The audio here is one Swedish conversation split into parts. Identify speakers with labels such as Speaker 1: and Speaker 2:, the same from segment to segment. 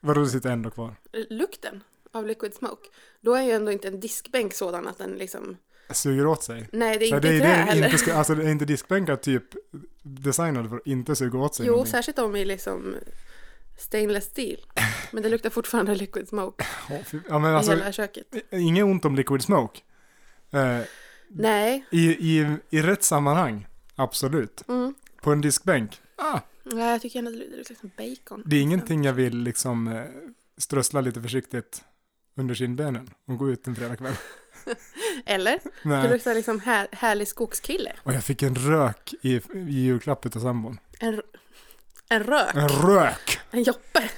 Speaker 1: Vadå, det sitter ändå kvar?
Speaker 2: lukten av liquid smoke, då är ju ändå inte en diskbänk sådan att den liksom...
Speaker 1: Suger åt sig?
Speaker 2: Nej, det är
Speaker 1: Nej,
Speaker 2: inte
Speaker 1: det är
Speaker 2: trä
Speaker 1: det
Speaker 2: heller.
Speaker 1: inte ska, alltså det är inte diskbänkar typ designade för att inte suga åt sig
Speaker 2: Jo,
Speaker 1: någonting.
Speaker 2: särskilt om i liksom stainless steel. Men det luktar fortfarande liquid smoke
Speaker 1: Åh, fy- Ja, men alltså,
Speaker 2: i hela köket.
Speaker 1: inget ont om liquid smoke. Eh,
Speaker 2: Nej,
Speaker 1: i, i, I rätt sammanhang, absolut.
Speaker 2: mm.
Speaker 1: På en diskbänk, ah,
Speaker 2: Nej, jag tycker ändå det luktar liksom bacon.
Speaker 1: det är ingenting jag vill liksom eh, strössla lite försiktigt under kindbenen och gå ut en fredagkväll.
Speaker 2: Eller? Det
Speaker 1: Nej.
Speaker 2: luktar liksom här, härlig skogskille.
Speaker 1: Och jag fick en rök i, i julklapp utav sambon.
Speaker 2: En, r- en rök.
Speaker 1: En rök!
Speaker 2: En joppe.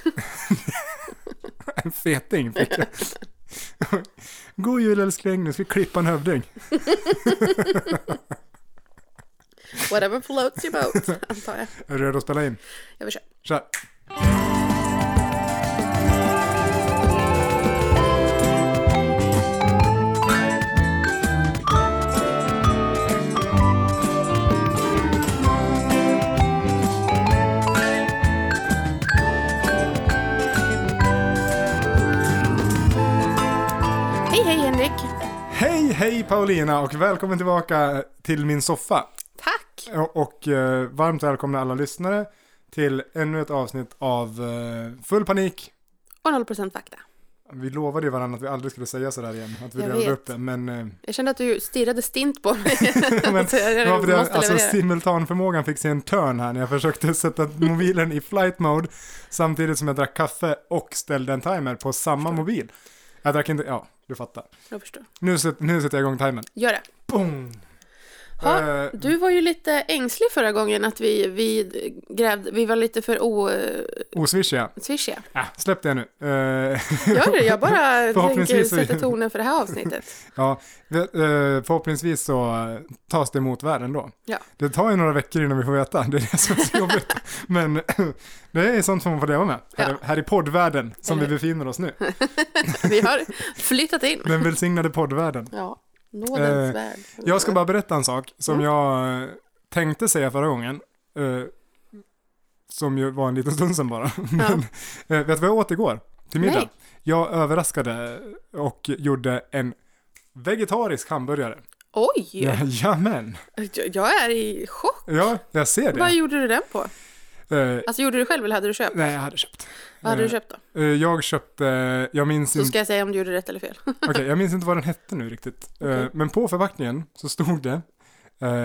Speaker 1: En feting fick jag. God jul älskling, nu ska vi klippa en hövding.
Speaker 2: Whatever floats your boat, antar jag.
Speaker 1: Är du redo att spela in?
Speaker 2: Jag vill köra.
Speaker 1: Kör!
Speaker 2: Hej, hej Henrik.
Speaker 1: Hej, hej Paulina och välkommen tillbaka till min soffa.
Speaker 2: Tack.
Speaker 1: Och, och eh, varmt välkomna alla lyssnare till ännu ett avsnitt av eh, Full panik.
Speaker 2: Och 0% fakta.
Speaker 1: Vi lovade ju varandra att vi aldrig skulle säga sådär igen, att vi
Speaker 2: Jag
Speaker 1: delade
Speaker 2: vet.
Speaker 1: upp det, men... eh,
Speaker 2: Jag kände att du stirrade stint på mig.
Speaker 1: men
Speaker 2: Så jag
Speaker 1: det var för det,
Speaker 2: måste
Speaker 1: alltså
Speaker 2: leverera.
Speaker 1: simultanförmågan fick sig en törn här när jag försökte sätta mobilen i flight mode samtidigt som jag drack kaffe och ställde en timer på samma mobil. Jag drack inte, ja, du fattar.
Speaker 2: Jag förstår.
Speaker 1: Nu, sätt- nu sätter jag igång timern.
Speaker 2: Gör det.
Speaker 1: Boom!
Speaker 2: Ha,
Speaker 1: Eh,
Speaker 2: Du var ju lite ängslig förra gången att vi, vi grävde, vi var lite för osvishiga.
Speaker 1: Oswishiga. Ah, släpp det nu. Eh,
Speaker 2: Gör det, jag bara tänker
Speaker 1: Förhoppningsvis så-
Speaker 2: sätta tonen för det här avsnittet.
Speaker 1: ja, det, eh, förhoppningsvis så eh, tas det emot världen då.
Speaker 2: Ja.
Speaker 1: Det tar ju några veckor innan vi får veta, det är det som är så jobbigt. Men det är sånt som man får leva med, här,
Speaker 2: Ja.
Speaker 1: här i poddvärlden som
Speaker 2: Eller
Speaker 1: vi befinner oss nu.
Speaker 2: Vi har flyttat in.
Speaker 1: Den välsignade poddvärlden.
Speaker 2: Ja, nådens
Speaker 1: Eh,
Speaker 2: värld.
Speaker 1: Jag ska bara berätta en sak som
Speaker 2: Mm.
Speaker 1: jag eh, tänkte säga förra gången. Eh, som ju var en liten stund sedan bara. Men, eh, vet du vad jag åt igår? Till middag?
Speaker 2: Nej.
Speaker 1: Jag överraskade och gjorde en vegetarisk hamburgare.
Speaker 2: Oj!
Speaker 1: Ja, jamen.
Speaker 2: Jag- Jag är i chock.
Speaker 1: Ja, jag ser det.
Speaker 2: Vad gjorde du den på?
Speaker 1: Eh,
Speaker 2: Alltså gjorde du själv eller hade du köpt?
Speaker 1: nej, jag hade köpt.
Speaker 2: Vad hade du
Speaker 1: Eh,
Speaker 2: köpt då?
Speaker 1: eh, jag köpte, jag minns,
Speaker 2: Så
Speaker 1: inte,
Speaker 2: ska jag säga om du gjorde rätt eller fel.
Speaker 1: okej, jag minns inte vad den hette nu riktigt. Eh,
Speaker 2: Okej.
Speaker 1: Men på förpackningen så stod det eh,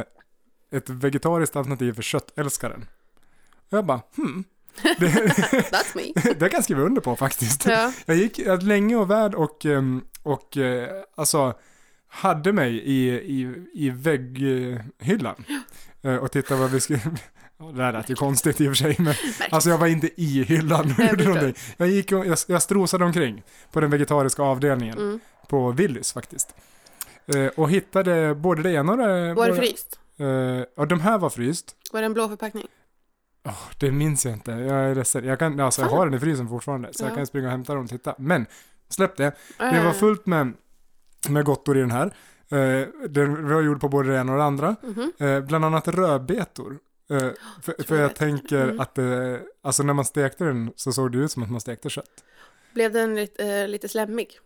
Speaker 1: ett vegetariskt alternativ för köttälskaren. Och jag bara, hmm, det,
Speaker 2: That's me.
Speaker 1: det kan jag skriva under på faktiskt.
Speaker 2: Ja,
Speaker 1: Jag gick jag, länge och väl och, ehm, och eh, alltså hade mig i, i, i vägghyllan. Eh, Och tittade vad vi skulle... Ja, Det där lät ju konstigt i och för sig, men alltså jag var inte i hyllan. och
Speaker 2: jag
Speaker 1: gjorde
Speaker 2: förstår.
Speaker 1: någonting. Jag, gick och, jag, jag strosade omkring på den vegetariska avdelningen
Speaker 2: Mm.
Speaker 1: på Willys faktiskt. Eh, Och hittade både det ena och det...
Speaker 2: var det
Speaker 1: både-
Speaker 2: fryst?
Speaker 1: Eh, Ja, de här var fryst.
Speaker 2: Var det en blå förpackning?
Speaker 1: Åh, det minns jag inte. Jag är ledsen. Jag, kan, alltså, jag har den i frysen fortfarande, så jag
Speaker 2: Ja.
Speaker 1: kan springa och hämta den och titta. Men släpp det. Det var
Speaker 2: Eh,
Speaker 1: fullt med, med gottor i den här. Eh, den var gjord på både det ena och det andra.
Speaker 2: mhm.
Speaker 1: Eh, bland annat rödbetor. Eh, för, för
Speaker 2: jag
Speaker 1: jag
Speaker 2: vet.
Speaker 1: tänker
Speaker 2: Mm.
Speaker 1: att det, alltså när man stekte den så såg det ut som att man stekte kött.
Speaker 2: Blev den lite, eh, lite slemmig?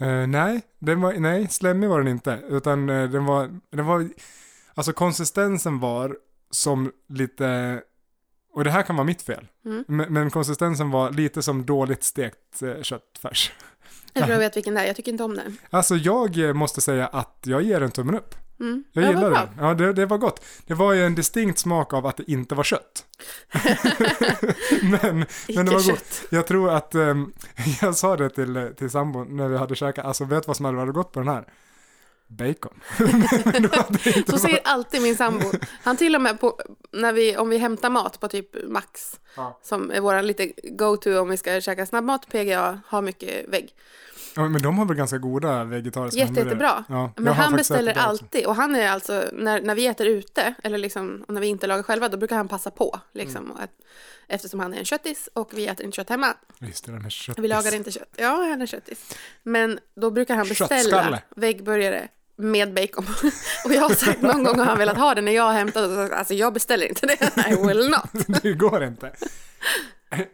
Speaker 1: Eh, nej, den var, nej, slemmig var den inte. Utan eh, den var, den var, alltså konsistensen var som lite, och det här kan vara mitt fel.
Speaker 2: Mm.
Speaker 1: Men, men konsistensen var lite som dåligt stekt eh, köttfärs.
Speaker 2: Jag tror jag vet vilken det är, jag tycker inte om den.
Speaker 1: Alltså jag eh, måste säga att jag ger den tummen upp.
Speaker 2: Mm.
Speaker 1: Jag
Speaker 2: Ja, vad
Speaker 1: gillar
Speaker 2: bra.
Speaker 1: den. Ja, det, det var gott. Det var ju en distinkt smak av att det inte var kött. men, men det var gott.
Speaker 2: Icke-kött.
Speaker 1: Jag tror att, ehm, jag sa det till, eh, till sambon när vi hade käkat, alltså vet du vad som hade varit gott på den här? Bacon. men då hade det inte
Speaker 2: Så
Speaker 1: varit...
Speaker 2: säger alltid min sambo. Han till och med på, när vi, om vi hämtar mat på typ Max,
Speaker 1: Ja.
Speaker 2: som är våran lite go-to om vi ska käka snabbmat, PGA, har mycket vägg.
Speaker 1: Ja, men de har väl ganska goda vegetariska
Speaker 2: Jätte,
Speaker 1: hamburgare.
Speaker 2: jättebra.
Speaker 1: Ja, jag
Speaker 2: Men
Speaker 1: har
Speaker 2: han
Speaker 1: faktiskt
Speaker 2: beställer
Speaker 1: ätit det också.
Speaker 2: alltid, och han är alltså, när, när vi äter ute, eller liksom, och när vi inte lagar själva, då brukar han passa på. Liksom,
Speaker 1: Mm.
Speaker 2: och att, eftersom han är en köttis och vi äter inte kött hemma.
Speaker 1: Just det, där med kött.
Speaker 2: Vi lagar inte kött. Ja, han är köttis. Men då brukar han
Speaker 1: Köttskalle.
Speaker 2: beställa väggburgare med bacon. Och jag har sagt någon gång har han velat ha det när jag har hämtat och sagt, alltså jag beställer inte det, I will not.
Speaker 1: det går inte.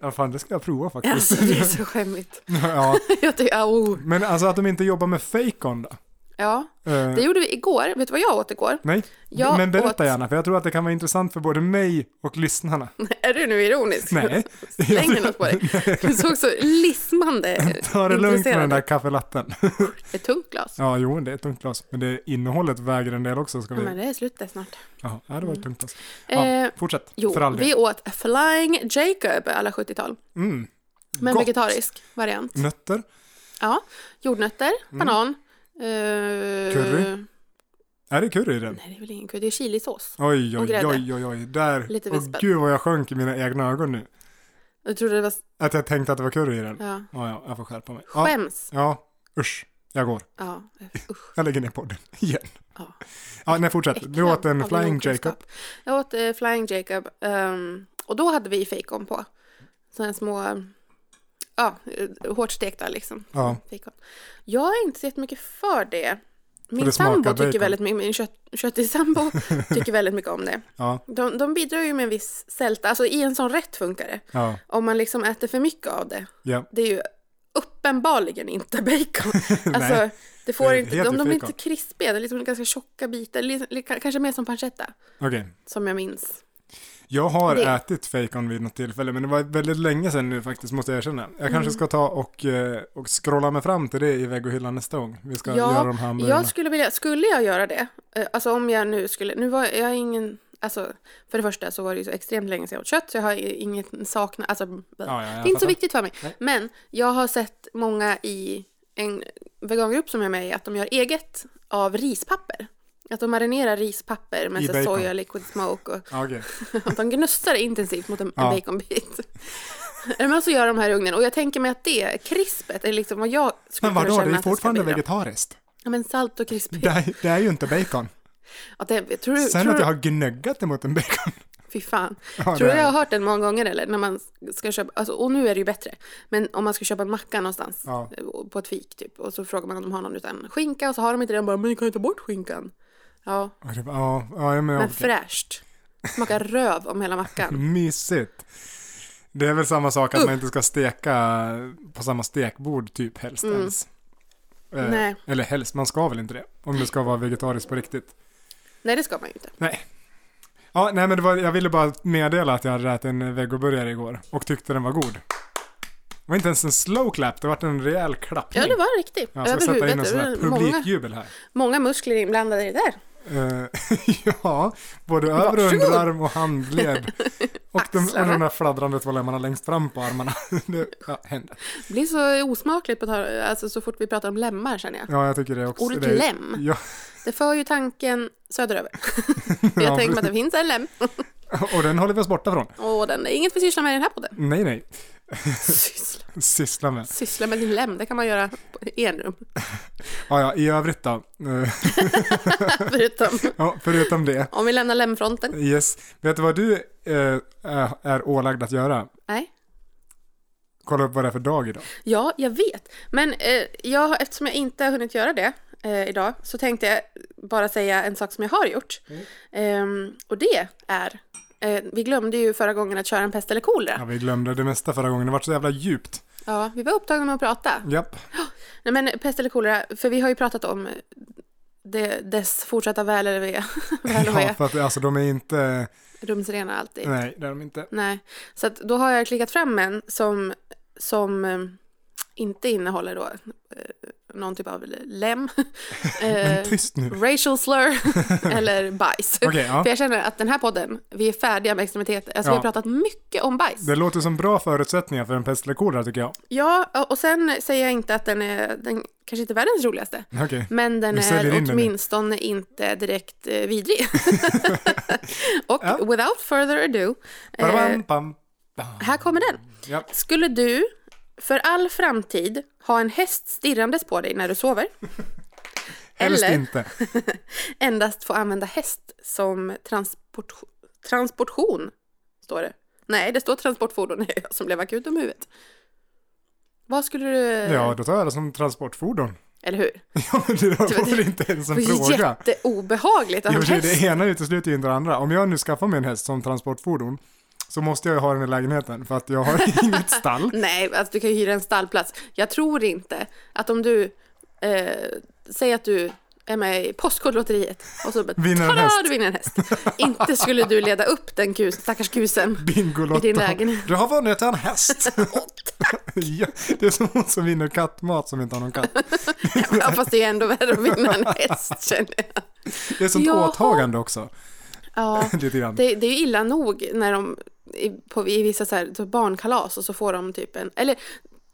Speaker 1: Ja, fan det ska jag prova faktiskt.
Speaker 2: Alltså det är så skämmigt.
Speaker 1: ja.
Speaker 2: Jag tycker, ah, oh.
Speaker 1: Men alltså att de inte jobbar med fejkon då?
Speaker 2: Ja,
Speaker 1: Eh,
Speaker 2: det gjorde vi igår. Vet du vad jag åt igår?
Speaker 1: nej,
Speaker 2: Jag
Speaker 1: men berätta
Speaker 2: åt-
Speaker 1: gärna för jag tror att det kan vara intressant för både mig och lyssnarna.
Speaker 2: Är du nu ironisk?
Speaker 1: Nej,
Speaker 2: Slänger något på dig. Du såg så lismande
Speaker 1: ta det lugnt med den
Speaker 2: intresserad
Speaker 1: där
Speaker 2: ut.
Speaker 1: kaffelatten.
Speaker 2: Ett tungt glas.
Speaker 1: Ja, jo, det är ett tungt glas. Men det innehållet väger en del också. Ska
Speaker 2: Ja,
Speaker 1: vi...
Speaker 2: men det är slutet snart.
Speaker 1: Jaha, ja, det var ett tungt glas.
Speaker 2: Eh,
Speaker 1: Ja, fortsätt, för
Speaker 2: Jo,
Speaker 1: all del.
Speaker 2: vi åt Flying Jacob alla 70-tal.
Speaker 1: Mm.
Speaker 2: Med en
Speaker 1: Gott.
Speaker 2: vegetarisk variant.
Speaker 1: Nötter,
Speaker 2: Ja, jordnötter, banan. eh,
Speaker 1: Mm. Curry? är det curry i den?
Speaker 2: Nej, det är väl ingen curry. Det är chilisås.
Speaker 1: Oj,
Speaker 2: Och
Speaker 1: oj,
Speaker 2: grädde.
Speaker 1: oj, oj, oj, där.
Speaker 2: Lite
Speaker 1: och
Speaker 2: vispad.
Speaker 1: gud vad jag sjönk i mina egna ögon nu.
Speaker 2: Jag trodde det var...
Speaker 1: Att jag tänkte att det var curry i den.
Speaker 2: Ja.
Speaker 1: Ja, ja, jag får skärpa mig. Ja,
Speaker 2: Skäms.
Speaker 1: ja, usch. Jag går.
Speaker 2: Ja, usch.
Speaker 1: Jag lägger ner podden igen.
Speaker 2: Ja.
Speaker 1: Ja, nej, fortsätt. Du åt en
Speaker 2: Äcklad av din
Speaker 1: Flying Jacob.
Speaker 2: okunskap. Jag åt eh, Flying Jacob. ehm, och då hade vi fejkon på. Sådana små... eh, Ja, eh, hårt stekta liksom.
Speaker 1: Ja,
Speaker 2: Fejkon. Jag är inte så jättemycket för det. Min
Speaker 1: det smakar
Speaker 2: sambo tycker
Speaker 1: bacon.
Speaker 2: väldigt mycket, min kött, köttig sambo tycker väldigt mycket om det.
Speaker 1: ja,
Speaker 2: De, de bidrar ju med en viss sälta, alltså i en sån rätt funkar det.
Speaker 1: ja,
Speaker 2: Om man liksom äter för mycket av det,
Speaker 1: ja.
Speaker 2: det är ju uppenbarligen inte bacon. alltså, det får
Speaker 1: det är
Speaker 2: inte,
Speaker 1: helt
Speaker 2: om de är
Speaker 1: bacon.
Speaker 2: inte krispiga, det är liksom ganska tjocka bitar, li- li- kanske mer som pancetta,
Speaker 1: Okej.
Speaker 2: som jag minns.
Speaker 1: Jag har
Speaker 2: Det-
Speaker 1: ätit fejkon vid något tillfälle, men det var väldigt länge sedan nu faktiskt, måste jag erkänna. Jag
Speaker 2: Mm.
Speaker 1: kanske ska ta och, eh, och scrolla mig fram till det i väggohyllan nästa gång. Vi ska göra de här hamburgarna.
Speaker 2: jag skulle vilja, skulle jag göra det, eh, alltså om jag nu skulle, nu var jag ingen, alltså för det första så var det ju så extremt länge sedan jag åt kött, så jag har i- inget sakna, alltså
Speaker 1: ja, jag
Speaker 2: det är inte så
Speaker 1: fattar.
Speaker 2: viktigt för mig.
Speaker 1: Nej.
Speaker 2: Men jag har sett många i en vegangrupp som jag är med i att de gör eget av rispapper. Att de marinerar rispapper med
Speaker 1: I
Speaker 2: så här
Speaker 1: bacon.
Speaker 2: soja, liquid smoke och
Speaker 1: Ja, okej.
Speaker 2: att de gnussar intensivt mot en,
Speaker 1: Ja.
Speaker 2: en baconbit. Men så gör de här i ugnen och jag tänker mig att det krispet är liksom vad jag skulle
Speaker 1: Men
Speaker 2: kunna
Speaker 1: vadå,
Speaker 2: känna
Speaker 1: det är
Speaker 2: att ska
Speaker 1: fortfarande
Speaker 2: bidra.
Speaker 1: vegetariskt.
Speaker 2: Ja men salt och krispigt.
Speaker 1: Det är, det är ju inte bacon.
Speaker 2: Ja, det, tror du,
Speaker 1: Sen
Speaker 2: tror
Speaker 1: att
Speaker 2: du,
Speaker 1: jag har gnuggat emot en bacon.
Speaker 2: Fy fan.
Speaker 1: Ja,
Speaker 2: tror
Speaker 1: det
Speaker 2: du
Speaker 1: är-
Speaker 2: jag har hört den många gånger eller? När man ska köpa, alltså, och nu är det ju bättre. Men om man ska köpa en macka någonstans.
Speaker 1: Ja.
Speaker 2: eh, På ett fik typ. Och så frågar man om de har någon utan skinka och så har de inte den. Bara, men ni kan ju ta bort skinkan. Ja,
Speaker 1: Och det bara, Ja, ja, men,
Speaker 2: men
Speaker 1: okej.
Speaker 2: fräscht. Smakar röv om hela mackan.
Speaker 1: Mysigt. Det är väl samma sak att man inte ska steka på samma stekbord typ helst ens. Eh,
Speaker 2: Mm. Nej.
Speaker 1: Eller helst, man ska väl inte det. Om det ska vara vegetariskt på riktigt.
Speaker 2: Nej, det ska man ju inte.
Speaker 1: Nej. Ja, nej men det var, jag ville bara meddela att jag hade ätit en vegoburgare igår och tyckte den var god. Det var inte ens en slow clap, det var en rejäl klappning.
Speaker 2: Ja, det var riktigt.
Speaker 1: jag ska
Speaker 2: Över
Speaker 1: sätta in en
Speaker 2: huvudet.
Speaker 1: sån här
Speaker 2: Över många,
Speaker 1: publikjubel här.
Speaker 2: många muskler inblandade i det där.
Speaker 1: Eh, ja, både över och
Speaker 2: Varsågod.
Speaker 1: underarm och handled. Och, de, och
Speaker 2: Axlarna.
Speaker 1: de där fladdrande toalemmarna längst fram på armarna. Det ja, händer.
Speaker 2: Det blir så osmakligt på tal- alltså, så fort vi pratar om lemmar känner jag.
Speaker 1: Ja, jag tycker det också.
Speaker 2: Ordet
Speaker 1: det,
Speaker 2: lem.
Speaker 1: Ja,
Speaker 2: Det för ju tanken söderöver. jag tänker mig att det finns en lem.
Speaker 1: och den håller vi oss borta från.
Speaker 2: Åh, den är inget vi sysslar med i den här podden.
Speaker 1: Nej, nej.
Speaker 2: Syssla,
Speaker 1: Syssla med.
Speaker 2: syssla med din lem, det kan man göra på enrum.
Speaker 1: Ja, ja, i övrigt då. Eh,
Speaker 2: Förutom
Speaker 1: Ja, förutom det.
Speaker 2: om vi lämnar lemfronten.
Speaker 1: Yes. Vet du vad du eh, är- är ålagd att göra?
Speaker 2: Nej.
Speaker 1: Kolla upp vad det är för dag idag.
Speaker 2: Ja, jag vet. Men eh, jag, har- eftersom jag inte har hunnit göra det eh, idag så tänkte jag bara säga en sak som jag har gjort.
Speaker 1: Mm.
Speaker 2: Ehm, och det är, eh, vi glömde ju förra gången att köra en pest eller
Speaker 1: Ja,
Speaker 2: kolera.
Speaker 1: vi glömde det mesta förra gången. Det var så jävla djupt.
Speaker 2: Ja, vi var upptagna med att prata.
Speaker 1: Japp.
Speaker 2: Nej men pest eller kolera, för vi har ju pratat om det, dess fortsatta väl eller ve, väl och
Speaker 1: Ja,
Speaker 2: ve,
Speaker 1: för att alltså de är inte...
Speaker 2: rumsrena alltid.
Speaker 1: Nej, det är de inte.
Speaker 2: Nej, så att då har jag klickat fram en som, som eh, inte innehåller då eh, någon typ av lem, eh,
Speaker 1: Men tyst nu.
Speaker 2: racial slur eller bajs.
Speaker 1: Okej, ja.
Speaker 2: För jag känner att den här podden, vi är färdiga med extremiteter. Alltså vi
Speaker 1: Ja.
Speaker 2: har pratat mycket om bajs.
Speaker 1: Det låter som bra förutsättningar för en pest eller kolera tycker jag.
Speaker 2: Ja, och- och sen säger jag inte att den är, den kanske inte är världens roligaste.
Speaker 1: Okej.
Speaker 2: Men den
Speaker 1: Du säljer in
Speaker 2: är
Speaker 1: den nu.
Speaker 2: åtminstone inte direkt eh, vidrig. och
Speaker 1: Ja.
Speaker 2: without further ado, eh,
Speaker 1: Badabam, bam, bam.
Speaker 2: här kommer den.
Speaker 1: Ja.
Speaker 2: Skulle du för all framtid ha en häst stirrandes på dig när du sover?
Speaker 1: Helst
Speaker 2: eller-
Speaker 1: inte.
Speaker 2: Endast få använda häst som transport, transportion, står det. Nej, det står transportfordon. Det är jag som blev akut om huvudet. Vad skulle du...
Speaker 1: Ja, då tar jag det som transportfordon.
Speaker 2: Eller hur?
Speaker 1: Ja, men det var väl inte ens
Speaker 2: Det
Speaker 1: en
Speaker 2: är
Speaker 1: fråga.
Speaker 2: jätteobehagligt att
Speaker 1: I och
Speaker 2: ha
Speaker 1: för
Speaker 2: en
Speaker 1: sig,
Speaker 2: häst.
Speaker 1: det ena utesluter ju inte det andra. Om jag nu skaffar mig en häst som transportfordon, så måste jag ju ha den i lägenheten för att jag har inget stall.
Speaker 2: Nej, alltså du kan ju hyra en stallplats. Jag tror inte att om du, eh, säg att du är med i Postkodlotteriet och så bara,
Speaker 1: Vinner en
Speaker 2: tada,
Speaker 1: häst.
Speaker 2: du vinner en häst. inte skulle du leda upp den kus, stackars kusen.
Speaker 1: Bingolotto.
Speaker 2: I din lägenhet.
Speaker 1: Du har vunnit en häst. ja, det är som hon som vinner kattmat som inte har någon katt.
Speaker 2: Ja, fast det är ändå värre att vinna en häst känner jag.
Speaker 1: Det är sånt
Speaker 2: Jaha.
Speaker 1: åtagande också.
Speaker 2: Ja,
Speaker 1: Lite grann.
Speaker 2: det, det är ju illa nog när de i, på, i vissa så här, så barnkalas och så får de typ en, eller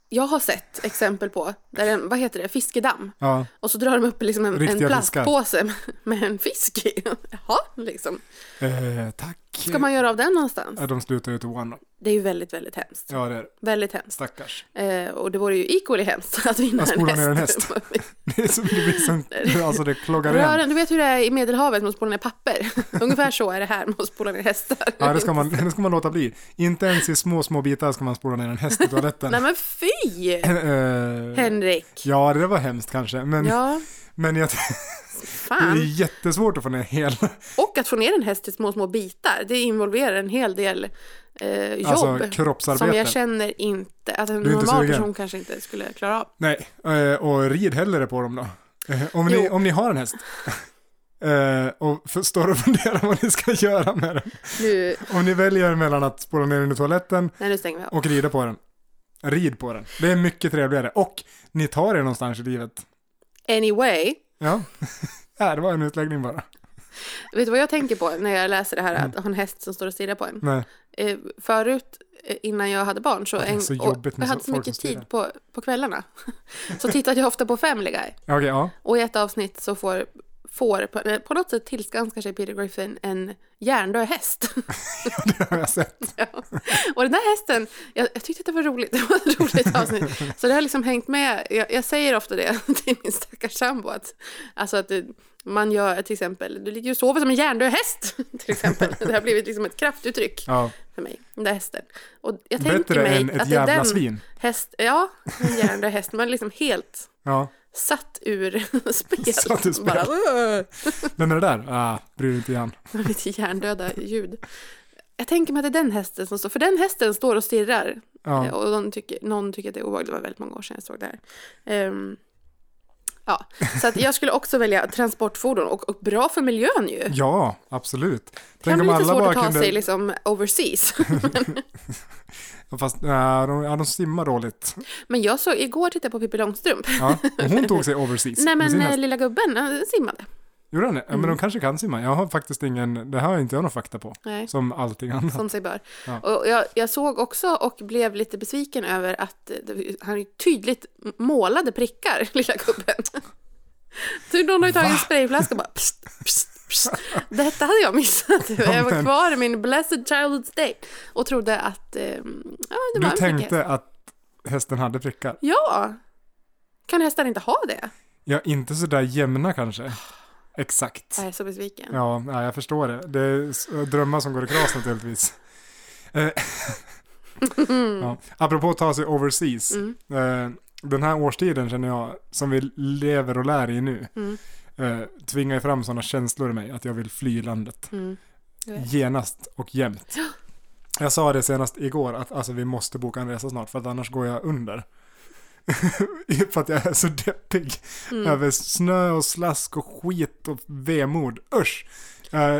Speaker 2: jag har sett exempel på, där en, vad heter det, fiskedamm.
Speaker 1: Ja,
Speaker 2: Och så drar de upp liksom en, en
Speaker 1: Riktiga
Speaker 2: plastpåse med- med en fisk i. Jaha, liksom.
Speaker 1: eh, tack.
Speaker 2: Ska man göra av den någonstans?
Speaker 1: Ja, de slutar ju till one.
Speaker 2: Det är ju väldigt, väldigt hemskt.
Speaker 1: Ja, det är det.
Speaker 2: Väldigt hemskt.
Speaker 1: Stackars.
Speaker 2: Eh, och det vore ju equally hemskt att vinna
Speaker 1: Att spola ner en häst. Det är som, det blir som, alltså det kloggar igen.
Speaker 2: Rören, du vet hur det är i Medelhavet med att spola ner papper? Ungefär så är det här med att spola ner hästar.
Speaker 1: Ja, det ska, man, det ska man låta bli. Inte ens i små, små bitar ska man spola ner en häst i toaletten.
Speaker 2: Nej men fy!
Speaker 1: Eh,
Speaker 2: Henrik.
Speaker 1: ja, det där var hemskt kanske. Men,
Speaker 2: Ja,
Speaker 1: men jag, det är
Speaker 2: fan.
Speaker 1: jättesvårt att få ner hela...
Speaker 2: Och att få ner en häst i små, små bitar, det involverar en hel del eh, jobb.
Speaker 1: Alltså
Speaker 2: som
Speaker 1: kroppsarbete.
Speaker 2: jag känner inte att en
Speaker 1: Du är inte
Speaker 2: normal
Speaker 1: sugen.
Speaker 2: person kanske inte skulle klara av.
Speaker 1: Nej, eh, och rid hellre på dem då. Eh, Om ni,
Speaker 2: Jo.
Speaker 1: om ni har en häst. Eh, Och för- står och funderar vad ni ska göra med den.
Speaker 2: Nu,
Speaker 1: Om ni väljer mellan att spola ner den i toaletten
Speaker 2: nej, nu stänger vi av.
Speaker 1: och rida på den. Rid på den. Det är mycket trevligare. Och ni tar er någonstans i livet.
Speaker 2: Anyway,
Speaker 1: Ja, ja det var en utläggning bara.
Speaker 2: vet du vad jag tänker på när jag läser det här
Speaker 1: Mm.
Speaker 2: att ha en häst som står och stirrar på en?
Speaker 1: Nej,
Speaker 2: Eh, förut, eh, innan jag hade barn, så,
Speaker 1: det är
Speaker 2: en,
Speaker 1: så
Speaker 2: och
Speaker 1: jobbigt
Speaker 2: jag
Speaker 1: med
Speaker 2: hade
Speaker 1: så-
Speaker 2: så
Speaker 1: folk
Speaker 2: mycket
Speaker 1: som stirrar.
Speaker 2: tid på, på kvällarna. så tittade jag ofta på Family Guy.
Speaker 1: okej, ja.
Speaker 2: Och i ett avsnitt så får, får på, eh, på något sätt tillskanskar sig Peter Griffin en hjärndöd häst.
Speaker 1: Det har jag sett.
Speaker 2: Ja. Och den där hästen, jag, jag tyckte att det var roligt, det var ett roligt avsnitt. Så det har liksom hängt med, jag, jag säger ofta det till min stackars sambo att, alltså att det, man gör till exempel, du ligger och sover som en hjärndöd häst till exempel. Det har blivit liksom ett kraftuttryck
Speaker 1: Ja.
Speaker 2: för mig, den där hästen. Och jag tänker
Speaker 1: Bättre
Speaker 2: mig
Speaker 1: än ett
Speaker 2: att det är
Speaker 1: jävla
Speaker 2: den
Speaker 1: svin.
Speaker 2: häst, ja, en hjärndöd häst, men liksom helt
Speaker 1: Ja,
Speaker 2: satt ur spel.
Speaker 1: Satt ur spel.
Speaker 2: Bara, "Åh!"
Speaker 1: men det där, ah, bryr dig inte igen.
Speaker 2: med lite hjärndöda ljud. Jag tänker mig att det är den hästen som står, för den hästen står och stirrar.
Speaker 1: Ja.
Speaker 2: Eh, Och de tycker, någon tycker att det är obehagligt, det var väldigt många år sedan jag såg det här. Ehm, ja, så att jag skulle också välja transportfordon och, och bra för miljön
Speaker 1: Mm.
Speaker 2: ju.
Speaker 1: Ja, absolut.
Speaker 2: Det kan bli lite svårt att ta sig liksom overseas.
Speaker 1: Fast nej, de, ja, de simmar dåligt.
Speaker 2: Men jag såg, igår tittade jag på Pippi Långstrump.
Speaker 1: Ja, och hon tog sig overseas.
Speaker 2: Nej
Speaker 1: med
Speaker 2: men
Speaker 1: sin
Speaker 2: eh, mm.
Speaker 1: häst.
Speaker 2: lilla gubben, han simmade.
Speaker 1: Gjorde han det? Ja, men de kanske kan simma. Jag har faktiskt ingen, det här har inte jag någon fakta på.
Speaker 2: Nej.
Speaker 1: Som allting annat.
Speaker 2: Som sig bör.
Speaker 1: Ja.
Speaker 2: Och jag, jag såg också och blev lite besviken över att eh, det, han ju tydligt målade prickar, lilla gubben. Så någon har ju tagit en sprayflaska och bara pst, pst, pst. Detta hade jag missat. Jag var
Speaker 1: men-
Speaker 2: kvar i min blessed childhood state och trodde att eh, ja, det var
Speaker 1: Du
Speaker 2: en
Speaker 1: tänkte
Speaker 2: prickhäst.
Speaker 1: att hästen hade prickar?
Speaker 2: Ja. Kan hästar inte ha det?
Speaker 1: Ja, inte sådär jämna kanske. Exakt.
Speaker 2: Jag är så besviken.
Speaker 1: Ja, ja, jag förstår det. Det är s- eh, drömmar som går i kras naturligtvis. Eh, ja. Apropå att ta sig overseas.
Speaker 2: Mm.
Speaker 1: Eh, den här årstiden känner jag, som vi lever och lär i nu,
Speaker 2: Mm.
Speaker 1: eh, tvingar ju fram sådana känslor i mig att jag vill fly landet.
Speaker 2: Mm. Jag vet.
Speaker 1: Genast och jämt. Jag sa det senast igår att alltså, vi måste boka en resa snart för att annars går jag under. för att jag är så deppig
Speaker 2: Mm.
Speaker 1: över snö och slask och skit och vemod. Usch! Eh,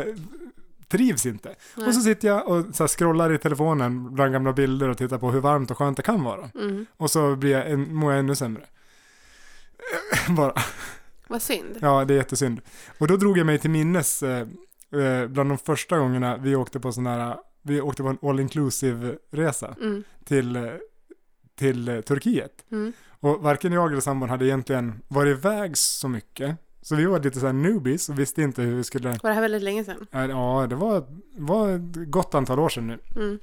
Speaker 1: trivs inte.
Speaker 2: Nej.
Speaker 1: Och så sitter jag och så här scrollar i telefonen bland gamla bilder och tittar på hur varmt och skönt det kan vara.
Speaker 2: Mm.
Speaker 1: Och så blir jag en, mår jag ännu sämre. Bara.
Speaker 2: Vad synd.
Speaker 1: Ja, det är jättesynd. Och då drog jag mig till minnes eh, eh, bland de första gångerna vi åkte på sån här, vi åkte på en all inclusive resa
Speaker 2: Mm.
Speaker 1: till, eh, till eh, Turkiet.
Speaker 2: Mm.
Speaker 1: Och varken jag eller sambon hade egentligen varit iväg så mycket. Så vi var lite så här newbies och visste inte hur vi skulle, eh,
Speaker 2: Var det här väldigt länge sedan?
Speaker 1: ja det var, var ett gott antal år sedan nu.
Speaker 2: Mm.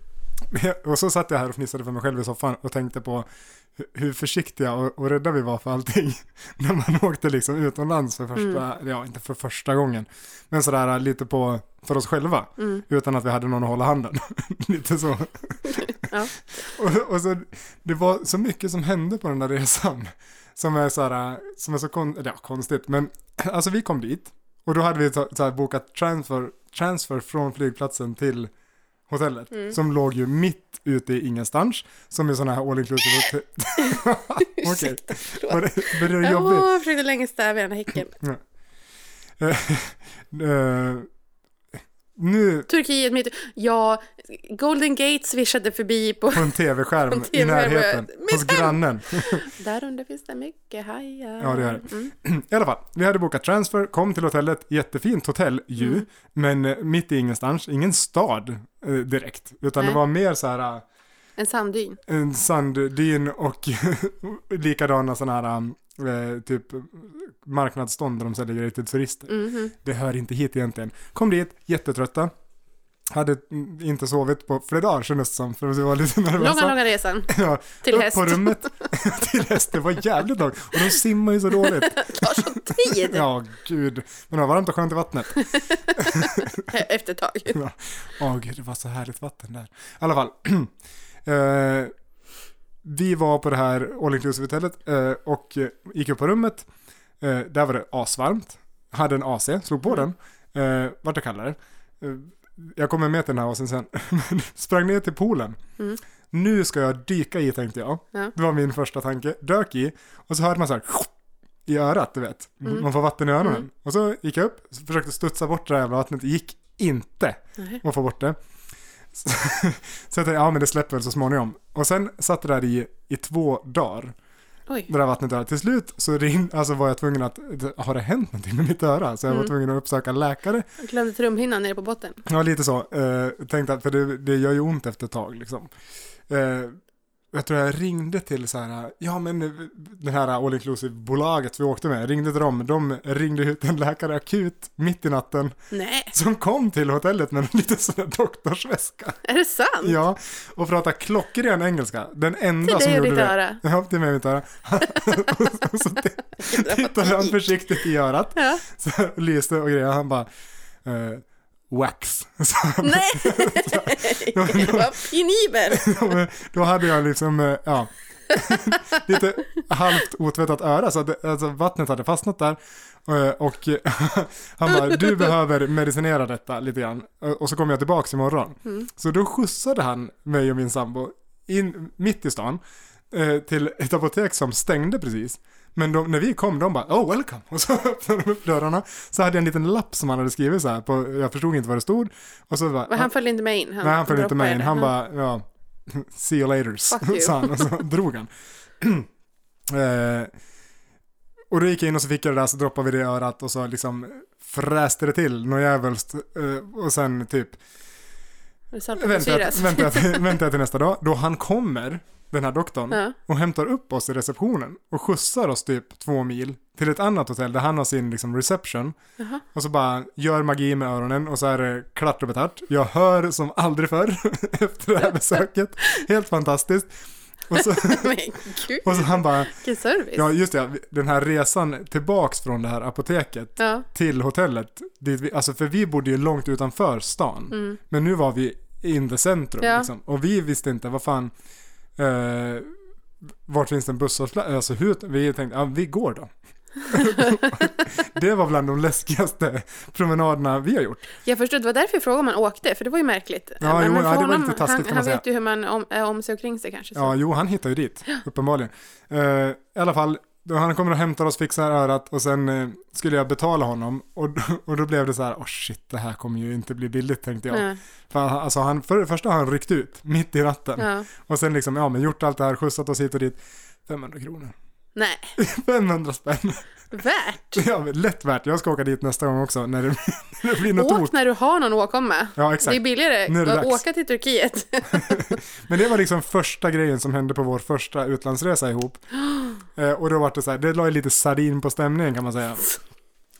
Speaker 1: Och så satt jag här och fnissade för mig själv i soffan och tänkte på hu- hur försiktiga och, och rädda vi var för allting. När man åkte liksom utomlands för första, ja inte för första gången, men sådär lite på, för oss själva.
Speaker 2: Mm.
Speaker 1: Utan att vi hade någon att hålla handen. lite så.
Speaker 2: Ja.
Speaker 1: och, och så, det var så mycket som hände på den där resan. Som är såhär, som är så kon, ja, konstigt, men alltså vi kom dit. Och då hade vi så, så här, bokat transfer, transfer från flygplatsen till hotellet.
Speaker 2: Mm.
Speaker 1: Som låg ju mitt ute i ingenstans. Som är sådana här all inclusive hotell. Okej,
Speaker 2: Ursäkta, förlåt.
Speaker 1: var det- var det jobbigt?
Speaker 2: Jag försökte länge stävja den här häcken.
Speaker 1: Eh, nu
Speaker 2: Turkiet mitt Ja, Golden Gate svishade förbi på...
Speaker 1: på en tv-skärm
Speaker 2: På en
Speaker 1: i
Speaker 2: TV-skärm,
Speaker 1: närheten.
Speaker 2: mitt
Speaker 1: Hos
Speaker 2: hem!
Speaker 1: grannen.
Speaker 2: Där under finns det mycket hajar.
Speaker 1: Ja, det gör det.
Speaker 2: Mm.
Speaker 1: I alla fall, vi hade bokat transfer, kom till hotellet, jättefint hotell ju,
Speaker 2: Mm.
Speaker 1: men eh, mitt i ingenstans, ingen stad eh, direkt, utan
Speaker 2: Nej.
Speaker 1: det var mer så här eh,
Speaker 2: En sanddyn.
Speaker 1: en sanddyn och likadana sådana här eh, typ marknadsstånd där de säljer grejer till turister.
Speaker 2: Mhm.
Speaker 1: Det hör inte hit egentligen. Kom dit, jättetrötta. Hade mm, inte sovit på flera dagar kändes det som, för vi var lite nervösa.
Speaker 2: Långa, långa resan.
Speaker 1: Ja,
Speaker 2: Till
Speaker 1: upp
Speaker 2: häst.
Speaker 1: på rummet. till häst, det var jävligt långt. Och de simmar ju så dåligt.
Speaker 2: Det tar sån tid
Speaker 1: Ja, gud. Men det var varmt och skönt i vattnet.
Speaker 2: efter ett tag.
Speaker 1: Ja. Åh gud, det var så härligt vatten där. I alla fall. eh, vi var på det här all inclusive hotellet eh, och eh, gick upp på rummet. Eh, där var det asvarmt. Hade en AC, slog på den. Eh, vart det kallare. Eh, jag kommer med till den här AC'n sen. Men sprang ner till poolen.
Speaker 2: Mm.
Speaker 1: Nu ska jag dyka i tänkte jag.
Speaker 2: Ja.
Speaker 1: Det var min första tanke. Dök i och så hörde man så här i örat, du vet.
Speaker 2: Mm.
Speaker 1: Man får vatten i öronen.
Speaker 2: Mm.
Speaker 1: Och så gick jag upp, försökte studsa bort det här jävla vattnet. Gick inte
Speaker 2: Nej.
Speaker 1: och få bort det. Så, så jag tänkte, ja men det släpper väl så småningom. Och sen satt det där i, i två dagar,
Speaker 2: Oj.
Speaker 1: det där vattnet där. Till slut så ring, alltså var jag tvungen att, har det hänt någonting med mitt öra? Så jag var
Speaker 2: Mm.
Speaker 1: tvungen att uppsöka läkare.
Speaker 2: Jag glömde trumhinnan nere på botten.
Speaker 1: Ja, lite så. Eh, tänkte att, för det, det gör ju ont efter ett tag liksom. Eh, jag tror jag ringde till så här, ja men eh, det här all inclusive-bolaget vi åkte med, ringde till dem, de ringde ut en läkare akut mitt i natten
Speaker 2: Nej,
Speaker 1: som kom till hotellet med en liten sån där doktorsväska.
Speaker 2: är det sant?
Speaker 1: Ja, och prata klockren engelska. Den enda
Speaker 2: Till
Speaker 1: som
Speaker 2: dig och
Speaker 1: gjorde
Speaker 2: ditt
Speaker 1: det.
Speaker 2: öra.
Speaker 1: Ja, till mig och mitt öra. och så tittade han försiktigt i örat,
Speaker 2: Ja.
Speaker 1: så lyste och grejer. Han bara, eh, wax. Så,
Speaker 2: Nej, vad penibel.
Speaker 1: då hade jag liksom, eh, ja, lite halvt otvättat öra, så att det, alltså, vattnet hade fastnat där. Eh, Och han bara, du behöver medicinera detta lite grann. Eh, Och så kommer jag tillbaka imorgon.
Speaker 2: Mm.
Speaker 1: Så då skjutsade han mig och min sambo in mitt i stan eh, till ett apotek som stängde precis. Men de, när vi kom, de bara oh welcome och så öppnade de upp dörrarna. Så hade jag en liten lapp som han hade skrivit så här på, jag förstod inte vad det stod. Och så bara,
Speaker 2: Men han följde inte med in.
Speaker 1: nej han följde inte med in,
Speaker 2: droppade
Speaker 1: han
Speaker 2: det.
Speaker 1: bara ja, see you laters,
Speaker 2: Fuck you.
Speaker 1: sa han och så drog han. eh, och då gick jag in och så fick jag det där så droppade vi det i örat och så liksom fräste det till något jävligt eh, och sen typ
Speaker 2: Är det sant?
Speaker 1: Vänta,
Speaker 2: Syras.
Speaker 1: vänta, vänta, vänta till nästa dag, då han kommer, den här doktorn,
Speaker 2: Ja.
Speaker 1: och hämtar upp oss i receptionen och skjutsar oss typ två mil till ett annat hotell där han har sin liksom, reception.
Speaker 2: Jaha.
Speaker 1: Och så bara gör magi med öronen och så är det klart och betart. Jag hör som aldrig förr efter det här besöket. Helt fantastiskt. Och så,
Speaker 2: Men gud,
Speaker 1: och så han bara,
Speaker 2: vilken service.
Speaker 1: ja just det, den här resan tillbaks från det här apoteket
Speaker 2: Ja.
Speaker 1: till hotellet. Dit vi, alltså för vi bodde ju långt utanför stan.
Speaker 2: Mm.
Speaker 1: Men nu var vi in the centrum
Speaker 2: Ja.
Speaker 1: liksom. Och vi visste inte, vad fan, eh, vart finns det en busshållplats? Alltså hur, vi tänkte, ja vi går då. det var bland de läskigaste promenaderna vi har gjort.
Speaker 2: Jag förstod, det var därför jag frågade om han åkte, för det var ju märkligt.
Speaker 1: Ja,
Speaker 2: Men
Speaker 1: jo,
Speaker 2: man
Speaker 1: ja,
Speaker 2: får
Speaker 1: det var lite taskigt
Speaker 2: han,
Speaker 1: kan
Speaker 2: Han
Speaker 1: man
Speaker 2: vet ju hur man om, är om sig och kring sig kanske. Så.
Speaker 1: Ja, jo han hittar ju dit, uppenbarligen. Eh, I alla fall, då han kommer och hämtar oss, fixar örat och sen eh, skulle jag betala honom. Och, och då blev det så här, oh shit, det här kommer ju inte bli billigt tänkte jag.
Speaker 2: Ja.
Speaker 1: För, han- alltså han, för det första har han ryckt ut mitt i natten.
Speaker 2: Ja.
Speaker 1: Och sen liksom, ja men gjort allt det här, skjutsat oss hit och dit. 500 kronor.
Speaker 2: Nej,
Speaker 1: 500 spänn.
Speaker 2: värt.
Speaker 1: Ja, men lätt värt. Jag ska åka dit nästa gång också när det, när det blir något
Speaker 2: Åk
Speaker 1: ok.
Speaker 2: när du har någon att åka med.
Speaker 1: Ja,
Speaker 2: Det är
Speaker 1: exakt.
Speaker 2: billigare
Speaker 1: Nu är det
Speaker 2: att
Speaker 1: dags.
Speaker 2: åka till Turkiet.
Speaker 1: Men det var liksom första grejen som hände på vår första utlandsresa ihop. Eh, och då var det så här, det la ju lite sardin på stämningen kan man säga.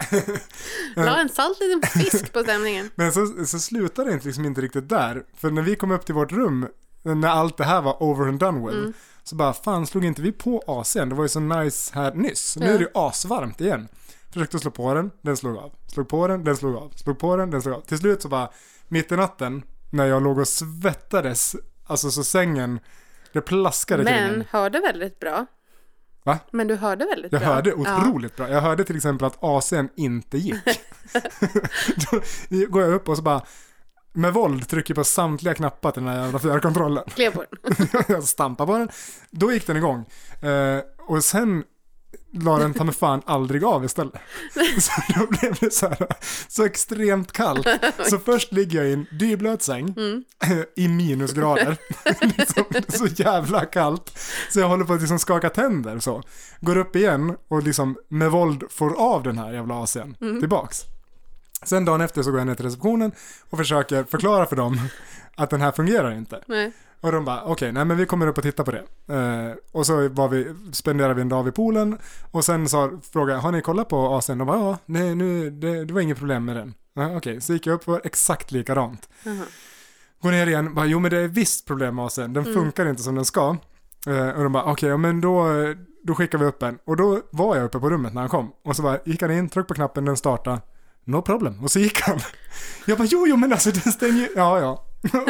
Speaker 2: La en salt liten fisk på stämningen.
Speaker 1: Men så, så slutade det inte- liksom inte riktigt där. För när vi kom upp till vårt rum, när allt det här var over and done with, så bara fan slog inte vi på AC'n? Det var ju så nice här nyss. Nu är det ju asvarmt igen. Försökte slå på den, den slog av. Slog på den, den slog av. Slog på den, den slog av. Till slut så bara, mitt i natten, när jag låg och svettades, alltså så sängen, det plaskade kring
Speaker 2: Men
Speaker 1: den.
Speaker 2: hörde väldigt bra.
Speaker 1: Va?
Speaker 2: Men du hörde väldigt
Speaker 1: Jag
Speaker 2: bra.
Speaker 1: hörde
Speaker 2: Ja.
Speaker 1: otroligt bra. Jag hörde till exempel att AC'n inte gick. Då går jag upp och så bara, med våld trycker på samtliga knappar till den här jävla fjärrkontrollen.
Speaker 2: Klev på den.
Speaker 1: jag stampar på den. Då gick den igång. Eh, och sen la den ta mig fan aldrig av istället. Så då blev det så här, så extremt kallt. Så först ligger jag i en dyblöt säng i minusgrader. liksom, det är så jävla kallt. Så jag håller på att liksom skaka tänder så. Går upp igen och liksom med våld får av den här jävla AC'n tillbaks. Sen dagen efter så går jag ner till receptionen och försöker förklara för dem att den här fungerar inte.
Speaker 2: Nej.
Speaker 1: Och de bara, okej, nej men vi kommer upp och tittar på det. Eh, och så var vi, spenderade vi en dag vid poolen och sen sa, frågade jag, har ni kollat på AC'n? De bara, ja, nej, nu, det, det var inget problem med den. Ja, Okej, så gick jag upp och var exakt likadant.
Speaker 2: Jaha.
Speaker 1: Går ner igen, bara, jo men det är visst problem med AC'n, den
Speaker 2: Mm.
Speaker 1: funkar inte som den ska. Eh, och de bara, okej, ja, men då, eh, då skickar vi upp en. Och då var jag uppe på rummet när han kom. Och så bara, gick han in, tryckte på knappen, den startade. No problem. Och så gick han. Jag bara, jo, jo, men alltså den stänger ju... Ja, ja.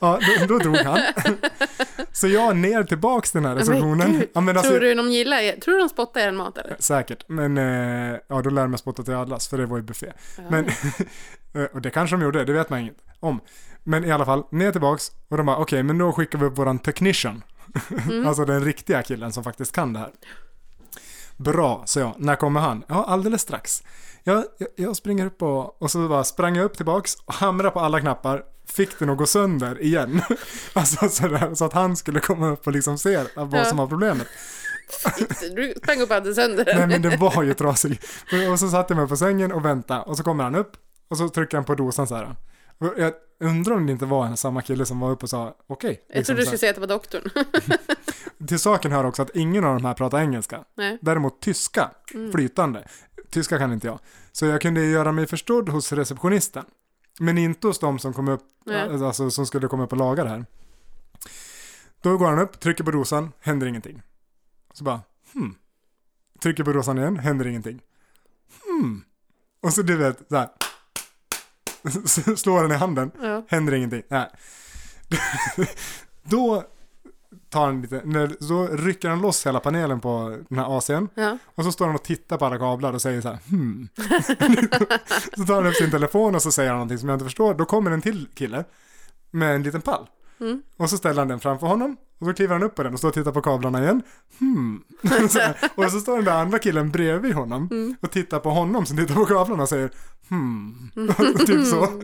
Speaker 1: ja, då, då drog han. Så jag ner tillbaks till den här
Speaker 2: Men
Speaker 1: receptionen.
Speaker 2: gud,
Speaker 1: Ja, men alltså,
Speaker 2: Tror du de gillar er? Tror du de spottar er mat eller?
Speaker 1: Säkert, men eh, ja, då lär man spotta till allas, för det var ju buffé. Men, eh, och det kanske de gjorde, det vet man inget om. Men i alla fall, ner tillbaks och de bara, okej, men då skickar vi upp våran technician. alltså den riktiga killen som faktiskt kan det här. Bra, sa jag. När kommer han? Ja, alldeles strax. Jag, jag, jag springer upp och, och så bara sprang jag upp tillbaks och hamrade på alla knappar. Fick den att gå sönder igen. alltså sådär, så att han skulle komma upp och liksom se vad
Speaker 2: Ja.
Speaker 1: som var problemet.
Speaker 2: Du sprang upp och hade sönder
Speaker 1: Nej
Speaker 2: den.
Speaker 1: men den var ju trasig. Och så satte jag mig på sängen och väntade och så kommer han upp och så trycker han på dosan så här. Och jag undrar om det inte var en samma kille som var uppe och sa okej.
Speaker 2: Jag
Speaker 1: Liksom
Speaker 2: trodde du
Speaker 1: så
Speaker 2: skulle
Speaker 1: här.
Speaker 2: säga att det var doktorn.
Speaker 1: Till saken hör också att ingen av de här pratar engelska.
Speaker 2: Nej.
Speaker 1: Däremot tyska, flytande. Tyska kan inte jag. Så jag kunde ju göra mig förstådd hos receptionisten. Men inte hos de som, kom upp,
Speaker 2: Nej.
Speaker 1: alltså, som skulle komma upp och laga det här. Då går han upp, trycker på dosan, händer ingenting. Så bara, hmm. Trycker på dosan igen, händer ingenting. Hmm. Och så du vet, så här. Så Slår den i handen,
Speaker 2: Ja.
Speaker 1: händer ingenting. Nej. Då tar han lite, när- då rycker han loss hela panelen på den här AC'n.
Speaker 2: Ja.
Speaker 1: Och så står han och tittar på alla kablar och säger så här, hmm. så tar han upp sin telefon och så säger han någonting som jag inte förstår. Då kommer en till kille med en liten pall.
Speaker 2: Mm.
Speaker 1: Och så ställer han den framför honom. Och då kliver han upp på den och står och tittar på kablarna igen. Hmm. så här. och så står den där andra killen bredvid honom
Speaker 2: Mm.
Speaker 1: och tittar på honom som tittar på kablarna och säger hmm. typ så.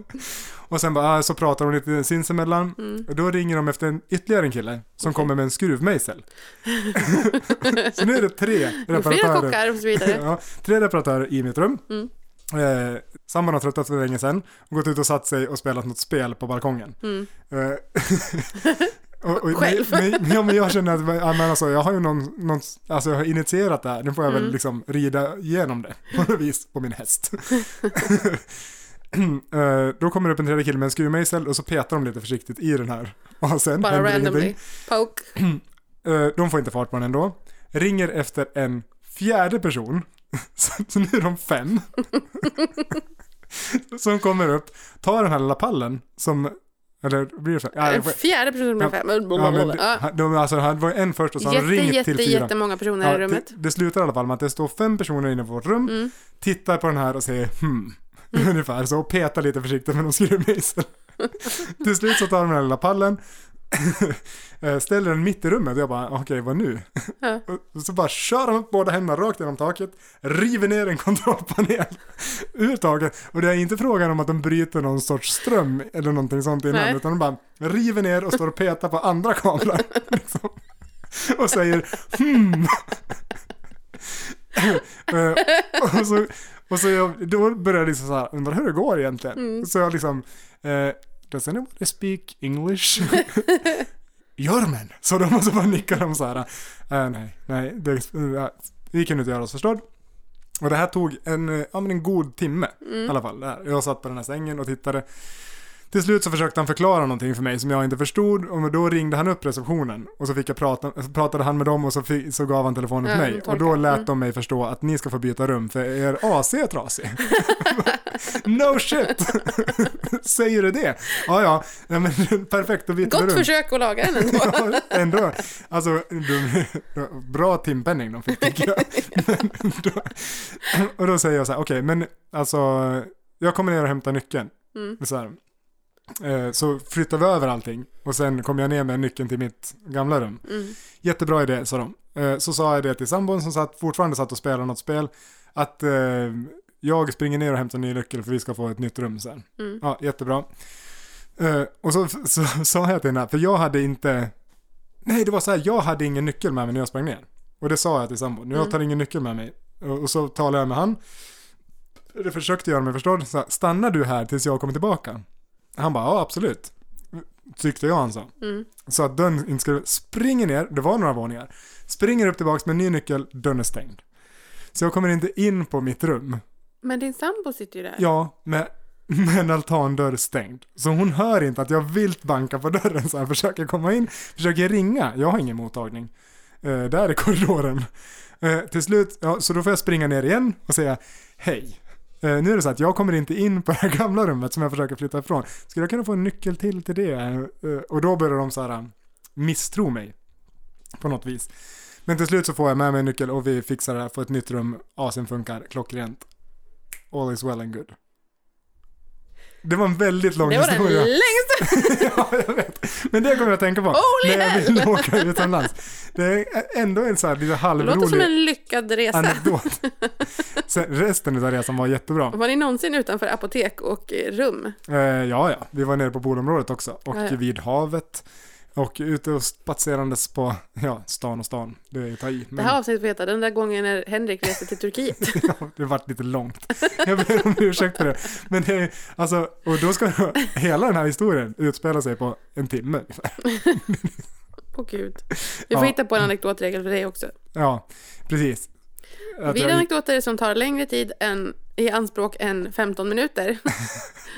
Speaker 1: Och sen bara, ah, så pratar de lite sinsemellan.
Speaker 2: Mm.
Speaker 1: Och då ringer de efter en, ytterligare en kille som kommer med en skruvmejsel. så nu är det tre
Speaker 2: Men Flera
Speaker 1: reparatörer.
Speaker 2: kockar och så vidare.
Speaker 1: Ja, tre reparatörer i mitt rum.
Speaker 2: Mm.
Speaker 1: Eh, Sambon har tröttnat för länge sedan och gått ut och satt sig och spelat något spel på balkongen.
Speaker 2: Mm.
Speaker 1: Eh, och, och,
Speaker 2: Själv.
Speaker 1: Men, men, ja, men jag känner att ja, men alltså, jag har ju någon, någon, alltså, jag har initierat det här, nu får jag
Speaker 2: Mm.
Speaker 1: väl liksom rida igenom det på något vis på min häst. Eh, Då kommer det upp en tredje kille med en skruvmejsel och så petar de lite försiktigt i den här. Och sen
Speaker 2: Bara
Speaker 1: händer ingenting.
Speaker 2: randomly. Poke.
Speaker 1: Eh, De får inte fart på den ändå. Ringer efter en fjärde person. Så så nu är de fem. som kommer upp, tar den här lilla pallen som... Eller blir det så? Ja,
Speaker 2: En
Speaker 1: jag får-
Speaker 2: fjärde person med
Speaker 1: Ja.
Speaker 2: fem.
Speaker 1: ja, men,
Speaker 2: Ja.
Speaker 1: det- de, alltså, det var en först och så har de
Speaker 2: Jätte,
Speaker 1: ringt till
Speaker 2: jätte,
Speaker 1: fyra.
Speaker 2: jättemånga personer
Speaker 1: Ja,
Speaker 2: i rummet.
Speaker 1: Det, det slutar i alla fall med att det står fem personer inne på vårt rum,
Speaker 2: Mm.
Speaker 1: tittar på den här och säger hmm. Ungefär så, och petar lite försiktigt med någon skruvmejsel. Till slut så tar de den här lilla pallen, eh, ställer den mitt i rummet och jag bara, okej vad nu?
Speaker 2: Ja.
Speaker 1: Och- Och så bara kör de upp båda händerna rakt genom taket, river ner en kontrollpanel ur taket. Och det är inte frågan om att de bryter någon sorts ström eller någonting sånt innan,
Speaker 2: Nej.
Speaker 1: utan de bara river ner och står och petar på andra kablar. liksom. Och säger hmm. Eh, och så, och så jag, då började jag liksom så här, undra hur det går egentligen.
Speaker 2: Mm.
Speaker 1: Så jag liksom, eh, does anybody speak English? German! Så de måste bara nicka de så här, eh, nej, nej, det, eh, vi kunde inte göra oss förstådd. Och det här tog en, eh, ja, men en god timme
Speaker 2: Mm.
Speaker 1: i alla fall. Där. Jag satt på den här sängen och tittade. Till slut så försökte han förklara någonting för mig som jag inte förstod och då ringde han upp receptionen och så fick jag prata, så pratade han med dem och så, fi- så gav han telefonen till
Speaker 2: Ja, Mm.
Speaker 1: mig
Speaker 2: de
Speaker 1: och då
Speaker 2: tolkar.
Speaker 1: lät de mig förstå att ni ska få byta rum för er AC är trasig. no shit! Säger du det? Ja, ja, Nej, men, perfekt, då byter vi
Speaker 2: Gott
Speaker 1: rum.
Speaker 2: försök att laga den ändå.
Speaker 1: Ja, ändå. Alltså, de, bra timpenning de fick tycker jag. Men, då, och då säger jag så här, okej, men alltså, jag kommer ner och hämtar nyckeln.
Speaker 2: Mm.
Speaker 1: Så, här. Eh, så flyttade vi över allting och sen kom jag ner med nyckeln till mitt gamla rum.
Speaker 2: Mm.
Speaker 1: Jättebra idé, sa de. Eh, Så sa jag det till sambon som satt, fortfarande satt och spelade något spel, att eh, jag springer ner och hämtar en ny nyckel för vi ska få ett nytt rum sen.
Speaker 2: Mm.
Speaker 1: Ja, jättebra. Eh, Och så, så, sa jag till henne, för jag hade inte, nej det var så här, jag hade ingen nyckel med mig när jag sprang ner. Och det sa jag till sambon, jag tar ingen nyckel med mig. Och, och så talade jag med han, det försökte göra mig förstådd, så här, stannar du här tills jag kommer tillbaka? Han bara, ja absolut. Tyckte jag han sa.
Speaker 2: Mm.
Speaker 1: Så att dörren inte skulle... Springer ner, det var några våningar. Springer upp tillbaks med en ny nyckel, dörren är stängd. Så jag kommer inte in på mitt rum.
Speaker 2: Men din sambo sitter ju där.
Speaker 1: Ja, med, med en altandörr stängd. Så hon hör inte att jag vilt bankar på dörren så här, försöker komma in, försöker ringa. Jag har ingen mottagning. Eh, där är korridoren. Eh, till slut, ja, så då får jag springa ner igen och säga hej. Eh, nu är det så att jag kommer inte in på det här gamla rummet som jag försöker flytta ifrån. Skulle jag kunna få en nyckel till till det? Eh, och då börjar de så här misstro mig. På något vis. Men till slut så får jag med mig en nyckel och vi fixar det här, får ett nytt rum, asen funkar, klockrent. All is well and good. Det var en väldigt lång
Speaker 2: Det var den
Speaker 1: historia.
Speaker 2: längsta.
Speaker 1: ja, jag vet. Men det kommer jag att tänka på
Speaker 2: Holy
Speaker 1: när jag
Speaker 2: hell!
Speaker 1: vill åka utomlands. Det är ändå en så här lite
Speaker 2: Det låter som
Speaker 1: halvrolig
Speaker 2: en lyckad resa.
Speaker 1: anekdot. Sen, resten av resan var jättebra.
Speaker 2: Var ni någonsin utanför apotek och eh, rum?
Speaker 1: Eh, ja, ja, vi var nere på Bolområdet också och
Speaker 2: Ja, ja.
Speaker 1: vid havet och ute och spatserandes på ja, stan och stan. Det är ta i.
Speaker 2: Det
Speaker 1: Men...
Speaker 2: här avsnittet får heta Den där gången när Henrik reste till Turkiet.
Speaker 1: Ja, det vart lite långt. Jag ber om ursäkt för det. Men det är, alltså, och då ska hela den här historien utspela sig på en timme ungefär.
Speaker 2: Åh gud. Vi
Speaker 1: Ja.
Speaker 2: får hitta på en anekdotregel för dig också.
Speaker 1: Ja, precis. Att
Speaker 2: Vid
Speaker 1: jag gick-
Speaker 2: anekdoter som tar längre tid än, i anspråk än 15 minuter,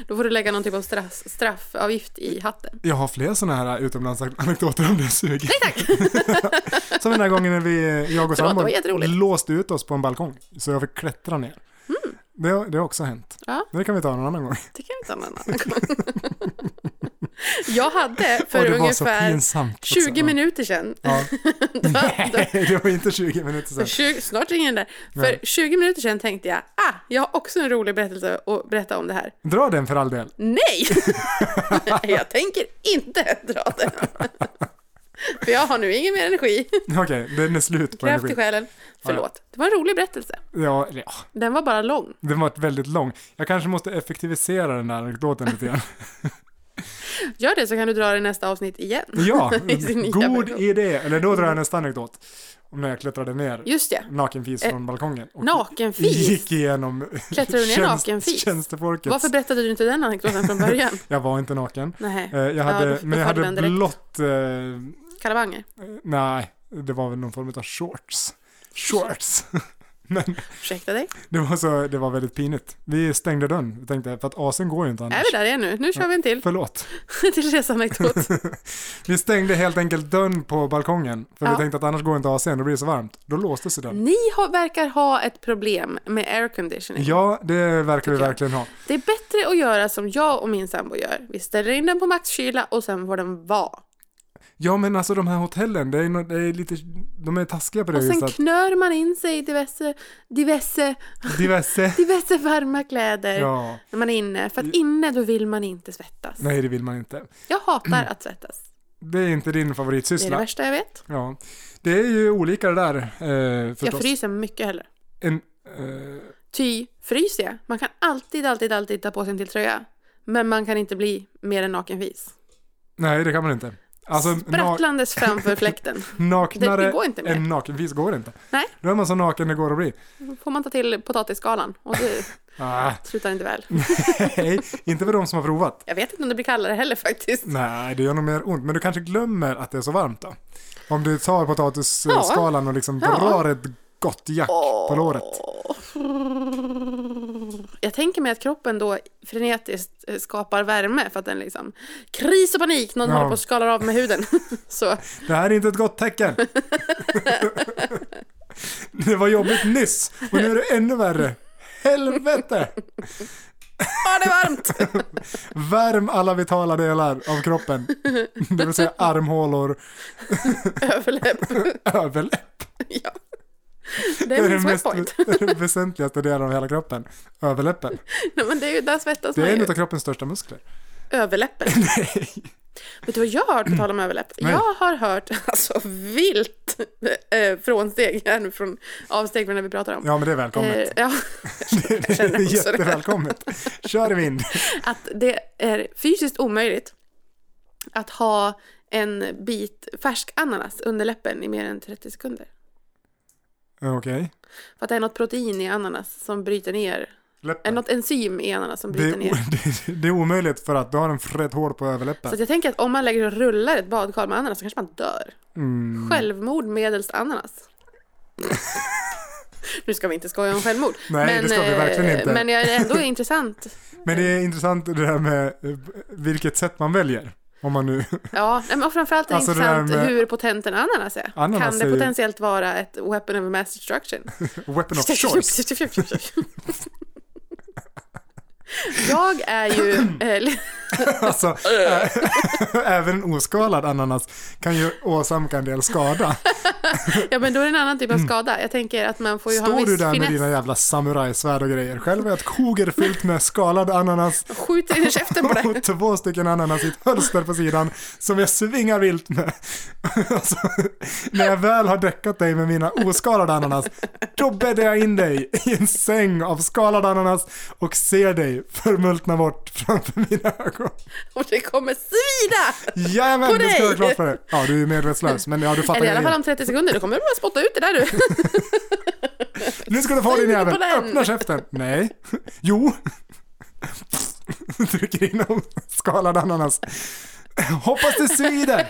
Speaker 2: då får du lägga någon typ av straff, straffavgift i hatten.
Speaker 1: Jag har fler sådana här utomlandsanekdoter om det suger. Nej tack! Som den där gången när vi, jag och
Speaker 2: Förlåt, det
Speaker 1: sambon
Speaker 2: var jätteroligt.
Speaker 1: låste ut oss på en balkong. Så jag fick klättra ner. Det, har- det har också hänt.
Speaker 2: Mm. Ja.
Speaker 1: Det kan vi ta någon annan gång.
Speaker 2: Det kan vi ta en annan gång. Jag hade
Speaker 1: och
Speaker 2: för
Speaker 1: det var så
Speaker 2: ungefär
Speaker 1: pinsamt. också.
Speaker 2: 20 minuter sedan,
Speaker 1: Ja.
Speaker 2: då, då,
Speaker 1: Nej, det var inte 20 minuter
Speaker 2: för
Speaker 1: sedan.
Speaker 2: 20, snart ringer den där,
Speaker 1: Nej.
Speaker 2: för 20 minuter sedan tänkte jag, ah, jag har också en rolig berättelse att berätta om det här.
Speaker 1: Dra den för all del.
Speaker 2: Nej! jag tänker inte dra den. För jag har nu ingen mer energi.
Speaker 1: Okej, den är slut på
Speaker 2: Kraft i
Speaker 1: energi.
Speaker 2: själen. Förlåt. Det var en rolig berättelse.
Speaker 1: Ja, eller ja,
Speaker 2: Den var bara lång.
Speaker 1: den var väldigt lång. Jag kanske måste effektivisera den här anekdoten lite grann.
Speaker 2: Gör det så kan du dra det i nästa avsnitt igen.
Speaker 1: Ja,
Speaker 2: I sin nya
Speaker 1: god
Speaker 2: version.
Speaker 1: idé. Eller då drar jag nästa anekdot. Om när jag klättrade ner
Speaker 2: Just det.
Speaker 1: nakenfis från balkongen. Och
Speaker 2: Eh, Nakenfis.
Speaker 1: Gick igenom
Speaker 2: Klättrade du ner nakenfis?
Speaker 1: tjänstefolket.
Speaker 2: Varför berättade du inte den anekdoten från början?
Speaker 1: Jag var inte naken.
Speaker 2: Nej.
Speaker 1: Eh, Jag hade,
Speaker 2: då- då
Speaker 1: men jag
Speaker 2: föll
Speaker 1: hade
Speaker 2: den direkt.
Speaker 1: blått, eh,
Speaker 2: Kalavanger.
Speaker 1: nej, det var väl någon form av shorts. Shorts. men
Speaker 2: Ursäkta dig.
Speaker 1: det var, så, det var väldigt pinigt. Vi stängde dörren, tänkte jag, för att asen går ju inte annars.
Speaker 2: Är vi där igen nu? Nu kör vi en till.
Speaker 1: Förlåt.
Speaker 2: till resanekdot.
Speaker 1: Vi stängde helt enkelt dörren på balkongen, för vi
Speaker 2: Ja. Mm.
Speaker 1: tänkte att annars går inte asen, då blir det så varmt. Då låste sig dörren.
Speaker 2: Ni har, verkar ha ett problem med airconditioning.
Speaker 1: Ja, det verkar vi
Speaker 2: Tycker jag.
Speaker 1: verkligen ha.
Speaker 2: Det är bättre att göra som jag och min sambo gör. Vi ställer in den på maxkyla och sen får den vara.
Speaker 1: Ja, men alltså de här hotellen, det är, nå- det är lite, de är taskiga på det
Speaker 2: Och sen
Speaker 1: viset. att-
Speaker 2: knör man in sig i diverse, diverse,
Speaker 1: Diverse.
Speaker 2: diverse varma kläder
Speaker 1: Ja.
Speaker 2: när man är inne. För att inne då vill man inte svettas.
Speaker 1: Nej, det vill man inte.
Speaker 2: Jag hatar att svettas.
Speaker 1: Det är inte din
Speaker 2: Det är
Speaker 1: favoritsyssla.
Speaker 2: det värsta jag vet.
Speaker 1: ja. Det är ju olika det där eh,
Speaker 2: Jag
Speaker 1: förstås.
Speaker 2: fryser mycket hellre.
Speaker 1: en, eh,
Speaker 2: Ty fryser jag. Man kan alltid, alltid, alltid ta på sig en till tröja. Men man kan inte bli mer än nakenvis.
Speaker 1: nej, det kan man inte. Alltså, na-
Speaker 2: Sprattlandes framför fläkten.
Speaker 1: naknare
Speaker 2: Det- det går inte mer.
Speaker 1: än nakenvis går det inte.
Speaker 2: Nej.
Speaker 1: Då är man så naken det går att bli.
Speaker 2: Då får man ta till potatisskalan och det
Speaker 1: Ah,
Speaker 2: slutar inte väl.
Speaker 1: nej, inte för de som har provat.
Speaker 2: Jag vet inte om det blir kallare heller faktiskt.
Speaker 1: Nej, det gör nog mer ont. Men du kanske glömmer att det är så varmt då? Om du tar potatisskalan och liksom
Speaker 2: Ja.
Speaker 1: drar ett gott jack på låret.
Speaker 2: Jag tänker mig att kroppen då frenetiskt eh, skapar värme för att den liksom kris och panik, någon
Speaker 1: Ja.
Speaker 2: håller på att skala av med huden. Så
Speaker 1: Det här är inte ett gott tecken. det var jobbigt nyss och nu är det ännu värre. Helvete!
Speaker 2: ah, det är varmt!
Speaker 1: Värm alla vitala delar av kroppen. Det vill säga armhålor,
Speaker 2: Överläpp.
Speaker 1: överläpp.
Speaker 2: Ja. Det är min sweatpoint.
Speaker 1: det är den väsentligaste delen av hela kroppen. Överläppen.
Speaker 2: Nej, men det är ju, där svettas
Speaker 1: Det
Speaker 2: man
Speaker 1: är en
Speaker 2: ju.
Speaker 1: av kroppens största muskler.
Speaker 2: Överläppen. Vet du vad jag har hört på tal om överläpp?
Speaker 1: Nej.
Speaker 2: Jag har hört alltså vilt eh, frånsteg här nu från avsteg från det vi pratar om.
Speaker 1: Ja, men det är välkommet.
Speaker 2: Eh, ja,
Speaker 1: det
Speaker 2: jag känner
Speaker 1: är
Speaker 2: också det.
Speaker 1: jättevälkommet. Kör i vind.
Speaker 2: att det är fysiskt omöjligt att ha en bit färsk ananas under läppen i mer än 30 sekunder.
Speaker 1: Okej.
Speaker 2: För att det är något protein i ananas som bryter ner, är
Speaker 1: Läppen.
Speaker 2: något enzym i ananas som
Speaker 1: Det är,
Speaker 2: bryter
Speaker 1: o-
Speaker 2: ner.
Speaker 1: det, det är omöjligt för att du har en fred hål på
Speaker 2: Så
Speaker 1: överläppen.
Speaker 2: att jag tänker att om man lägger och rullar ett badkar med ananas så kanske man dör.
Speaker 1: Mm.
Speaker 2: Självmord medelst ananas. nu ska vi inte skoja om självmord.
Speaker 1: Nej, det ska vi
Speaker 2: eh,
Speaker 1: verkligen inte.
Speaker 2: Men jag är ändå intressant.
Speaker 1: Men det är intressant det där med eh, vilket sätt man väljer. Om man nu...
Speaker 2: Ja, nej, men och framförallt är det
Speaker 1: Alltså, det där
Speaker 2: intressant
Speaker 1: med-
Speaker 2: hur potent en ananas är.
Speaker 1: Ananas
Speaker 2: kan det
Speaker 1: är ju-
Speaker 2: potentiellt vara ett weapon of mass destruction?
Speaker 1: Weapon of choice.
Speaker 2: jag är ju... eh, li-
Speaker 1: Alltså, ä- även en oskalad ananas kan ju åsamka en del skada.
Speaker 2: ja, men då är det en annan typ av skada. Jag tänker att man får ju ha en
Speaker 1: Står du
Speaker 2: viss
Speaker 1: där med
Speaker 2: finess.
Speaker 1: dina jävla samurajsvärd och grejer. Själv är jag ett koger fyllt med skalad ananas
Speaker 2: Skjut in i käften på dig.
Speaker 1: och två stycken ananas i ett hölster på sidan som jag svingar vilt med. Alltså, när jag väl har däckat dig med mina oskalade ananas, då bäddar jag in dig i en säng av skalad ananas och ser dig förmultna bort framför mina ögon.
Speaker 2: Och det kommer svida! På
Speaker 1: Jajamän, det ska
Speaker 2: dig!
Speaker 1: du ha klart för dig. Ja, du är medvetslös, men ja, du fattar
Speaker 2: Eller i alla fall
Speaker 1: grejen.
Speaker 2: om 30 sekunder, då kommer du bara spotta ut det där du.
Speaker 1: Nu ska du få din
Speaker 2: Sug
Speaker 1: jävel,
Speaker 2: på den.
Speaker 1: öppna käften. Nej. Jo. Trycker in en skalad ananas. Hoppas det svider.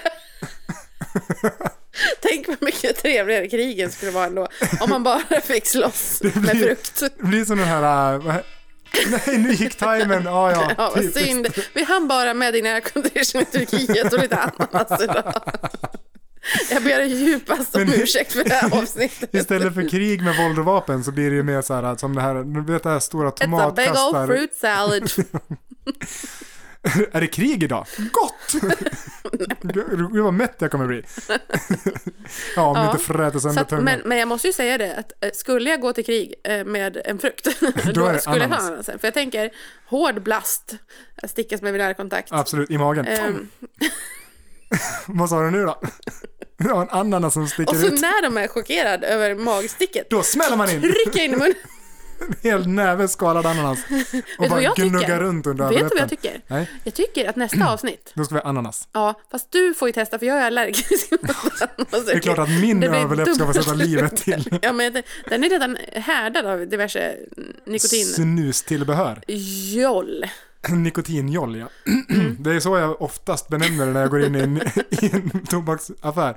Speaker 2: Tänk vad mycket trevligare krigen skulle vara ändå. Om man bara fick slåss med
Speaker 1: blir-
Speaker 2: frukt.
Speaker 1: Det blir som den här... äh, vad he- Nej, nu gick timern. Ja, ja. typ.
Speaker 2: Ja, vad
Speaker 1: typiskt.
Speaker 2: synd. Vi hann bara med din aircondition i Turkiet och lite ananas idag. Jag ber djupast om
Speaker 1: Men-
Speaker 2: ursäkt för det här avsnittet.
Speaker 1: Istället för krig med våld och vapen så blir det ju mer så här äh, som det här, du vet det här stora
Speaker 2: It's a big old
Speaker 1: tomatkastar.
Speaker 2: fruit salad.
Speaker 1: Är det krig idag? Gott! Gud vad mätt jag kommer bli. Ja, om du
Speaker 2: Ja.
Speaker 1: inte fräter
Speaker 2: Så
Speaker 1: sönder
Speaker 2: att,
Speaker 1: tungan.
Speaker 2: men, men jag måste ju säga det, att eh, skulle jag gå till krig eh, med en frukt,
Speaker 1: Då är
Speaker 2: då
Speaker 1: det
Speaker 2: skulle jag ha
Speaker 1: ananas.
Speaker 2: ananasen. För jag tänker, hård blast stickas med vinärkontakt.
Speaker 1: Absolut, i magen.
Speaker 2: Ehm,
Speaker 1: Vad sa du nu då? Det var en ananas som sticker
Speaker 2: och så
Speaker 1: ut.
Speaker 2: när de är chockerade över magsticket,
Speaker 1: Då smäller man in
Speaker 2: trycka in i munnen.
Speaker 1: en hel näve skalad ananas och
Speaker 2: du vad
Speaker 1: bara
Speaker 2: jag tycker?
Speaker 1: gnuggar runt under
Speaker 2: Vet du vad
Speaker 1: överläppen.
Speaker 2: jag tycker?
Speaker 1: Nej,
Speaker 2: Jag tycker att nästa avsnitt,
Speaker 1: då ska vi ha ananas.
Speaker 2: ja, fast du får ju testa för jag är allergisk mot ananas.
Speaker 1: Det är klart att min
Speaker 2: Det blir
Speaker 1: överläpp ska få
Speaker 2: dubbelt.
Speaker 1: sätta livet till.
Speaker 2: Ja, men det- den är redan härdad av diverse nikotin.
Speaker 1: Snustillbehör.
Speaker 2: Joll.
Speaker 1: Nikotinjoll, ja. Det är så jag oftast benämner det när jag går in i en, i en tobaksaffär.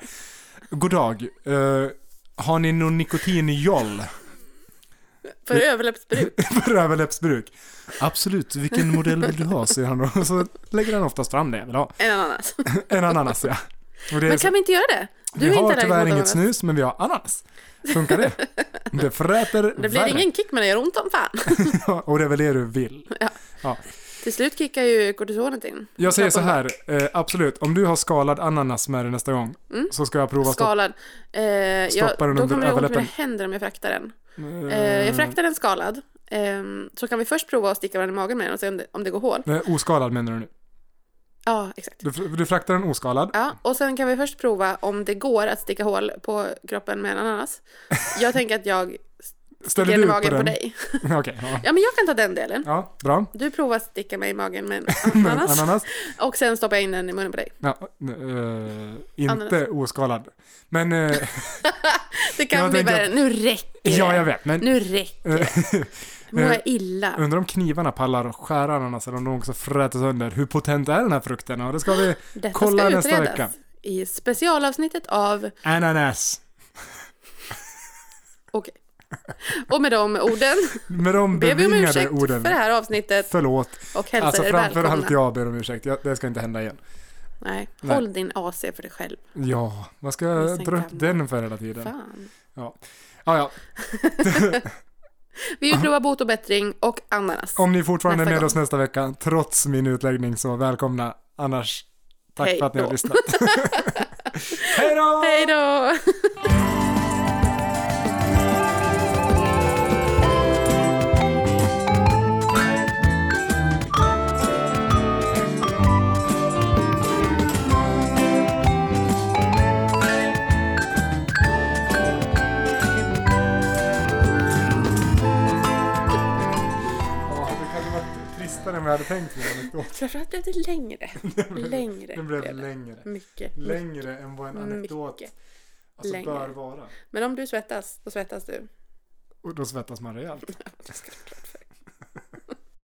Speaker 1: God dag. eh, har ni någon nikotinjoll
Speaker 2: För överläppsbruk.
Speaker 1: för överläppsbruk? Absolut, vilken modell vill du ha? säger han då. Och så lägger han oftast fram det jag vill ha.
Speaker 2: En ananas.
Speaker 1: En ananas, ja. Och det är
Speaker 2: Men
Speaker 1: så-
Speaker 2: kan vi inte göra det? Du
Speaker 1: vi
Speaker 2: är inte
Speaker 1: har
Speaker 2: allergisk mot
Speaker 1: tyvärr inget
Speaker 2: ananas.
Speaker 1: snus, men vi har ananas. Funkar det? Det fräter
Speaker 2: Det blir
Speaker 1: värre.
Speaker 2: ingen kick men det gör ont om fan.
Speaker 1: Och det är väl det du vill.
Speaker 2: Till slut kickar ju kortisonet in.
Speaker 1: Jag säger så
Speaker 2: Kroppen
Speaker 1: här, eh, absolut, om du har skalad ananas med dig nästa gång
Speaker 2: Mm.
Speaker 1: så ska jag prova
Speaker 2: Skalad. Eh, jag,
Speaker 1: Stoppar den
Speaker 2: då
Speaker 1: under
Speaker 2: kommer jag ihåg hur det
Speaker 1: överläppen.
Speaker 2: händer om jag fraktar den.
Speaker 1: stoppa...
Speaker 2: Eh, jag fraktar den skalad. Eh, så kan vi först prova att sticka varandra i magen med den och se om det, om det går hål.
Speaker 1: Nej, oskalad menar du nu?
Speaker 2: Ja, exakt.
Speaker 1: Du, fr- du fraktar den oskalad?
Speaker 2: Ja, och sen kan vi först prova om det går att sticka hål på kroppen med en ananas. Jag tänker att jag
Speaker 1: Ställer
Speaker 2: ger
Speaker 1: du
Speaker 2: i
Speaker 1: upp på
Speaker 2: magen på,
Speaker 1: den?
Speaker 2: dig.
Speaker 1: Okej, ja.
Speaker 2: Ja, men jag kan ta den delen.
Speaker 1: ja. Bra.
Speaker 2: Du provar att sticka mig i magen med en
Speaker 1: Men
Speaker 2: ananas.
Speaker 1: Ananas?
Speaker 2: Och sen stoppar jag in den i munnen på dig.
Speaker 1: Ja, eh, inte oskalad. Men, eh,
Speaker 2: Det kan
Speaker 1: Jag
Speaker 2: bli
Speaker 1: tänker
Speaker 2: värre. Nu räcker det.
Speaker 1: ja jag vet. Men
Speaker 2: Nu räcker det. Nu mår jag illa.
Speaker 1: Undrar om knivarna pallar och skära ananas eller om de också fräter sönder. Hur potent är den här frukten? Ja, det ska vi
Speaker 2: Detta
Speaker 1: kolla
Speaker 2: ska
Speaker 1: nästa
Speaker 2: utredas
Speaker 1: vecka.
Speaker 2: i specialavsnittet av...
Speaker 1: Ananas.
Speaker 2: Okej. Och med de orden
Speaker 1: Med de
Speaker 2: ber vi om
Speaker 1: bevingade
Speaker 2: ursäkt
Speaker 1: orden.
Speaker 2: för det här avsnittet
Speaker 1: Förlåt.
Speaker 2: och hälsar
Speaker 1: Alltså
Speaker 2: er
Speaker 1: framförallt
Speaker 2: välkomna.
Speaker 1: jag ber om ursäkt. Jag, det ska inte hända igen.
Speaker 2: Nej,
Speaker 1: Nej.
Speaker 2: håll din AC för dig själv.
Speaker 1: Ja, vad ska
Speaker 2: Vi
Speaker 1: jag
Speaker 2: sen
Speaker 1: dra upp
Speaker 2: kan-
Speaker 1: den för hela tiden?
Speaker 2: Fan.
Speaker 1: Ja, ja.
Speaker 2: Vi vill prova bot och bättring och ananas.
Speaker 1: Om ni fortfarande är
Speaker 2: Nästa
Speaker 1: med
Speaker 2: gång.
Speaker 1: oss nästa vecka, trots min utläggning, så välkomna. Annars, tack
Speaker 2: Hej
Speaker 1: för att ni har
Speaker 2: då.
Speaker 1: lyssnat. Hej då!
Speaker 2: Hej då!
Speaker 1: kortare än vad jag hade tänkt mig. Anekdot.
Speaker 2: Framförallt blev det längre. längre.
Speaker 1: Den blev längre.
Speaker 2: Mycket.
Speaker 1: Längre än vad en anekdot
Speaker 2: Mycket.
Speaker 1: alltså,
Speaker 2: längre.
Speaker 1: bör vara.
Speaker 2: Men om du svettas, då svettas du.
Speaker 1: Och då svettas man rejält.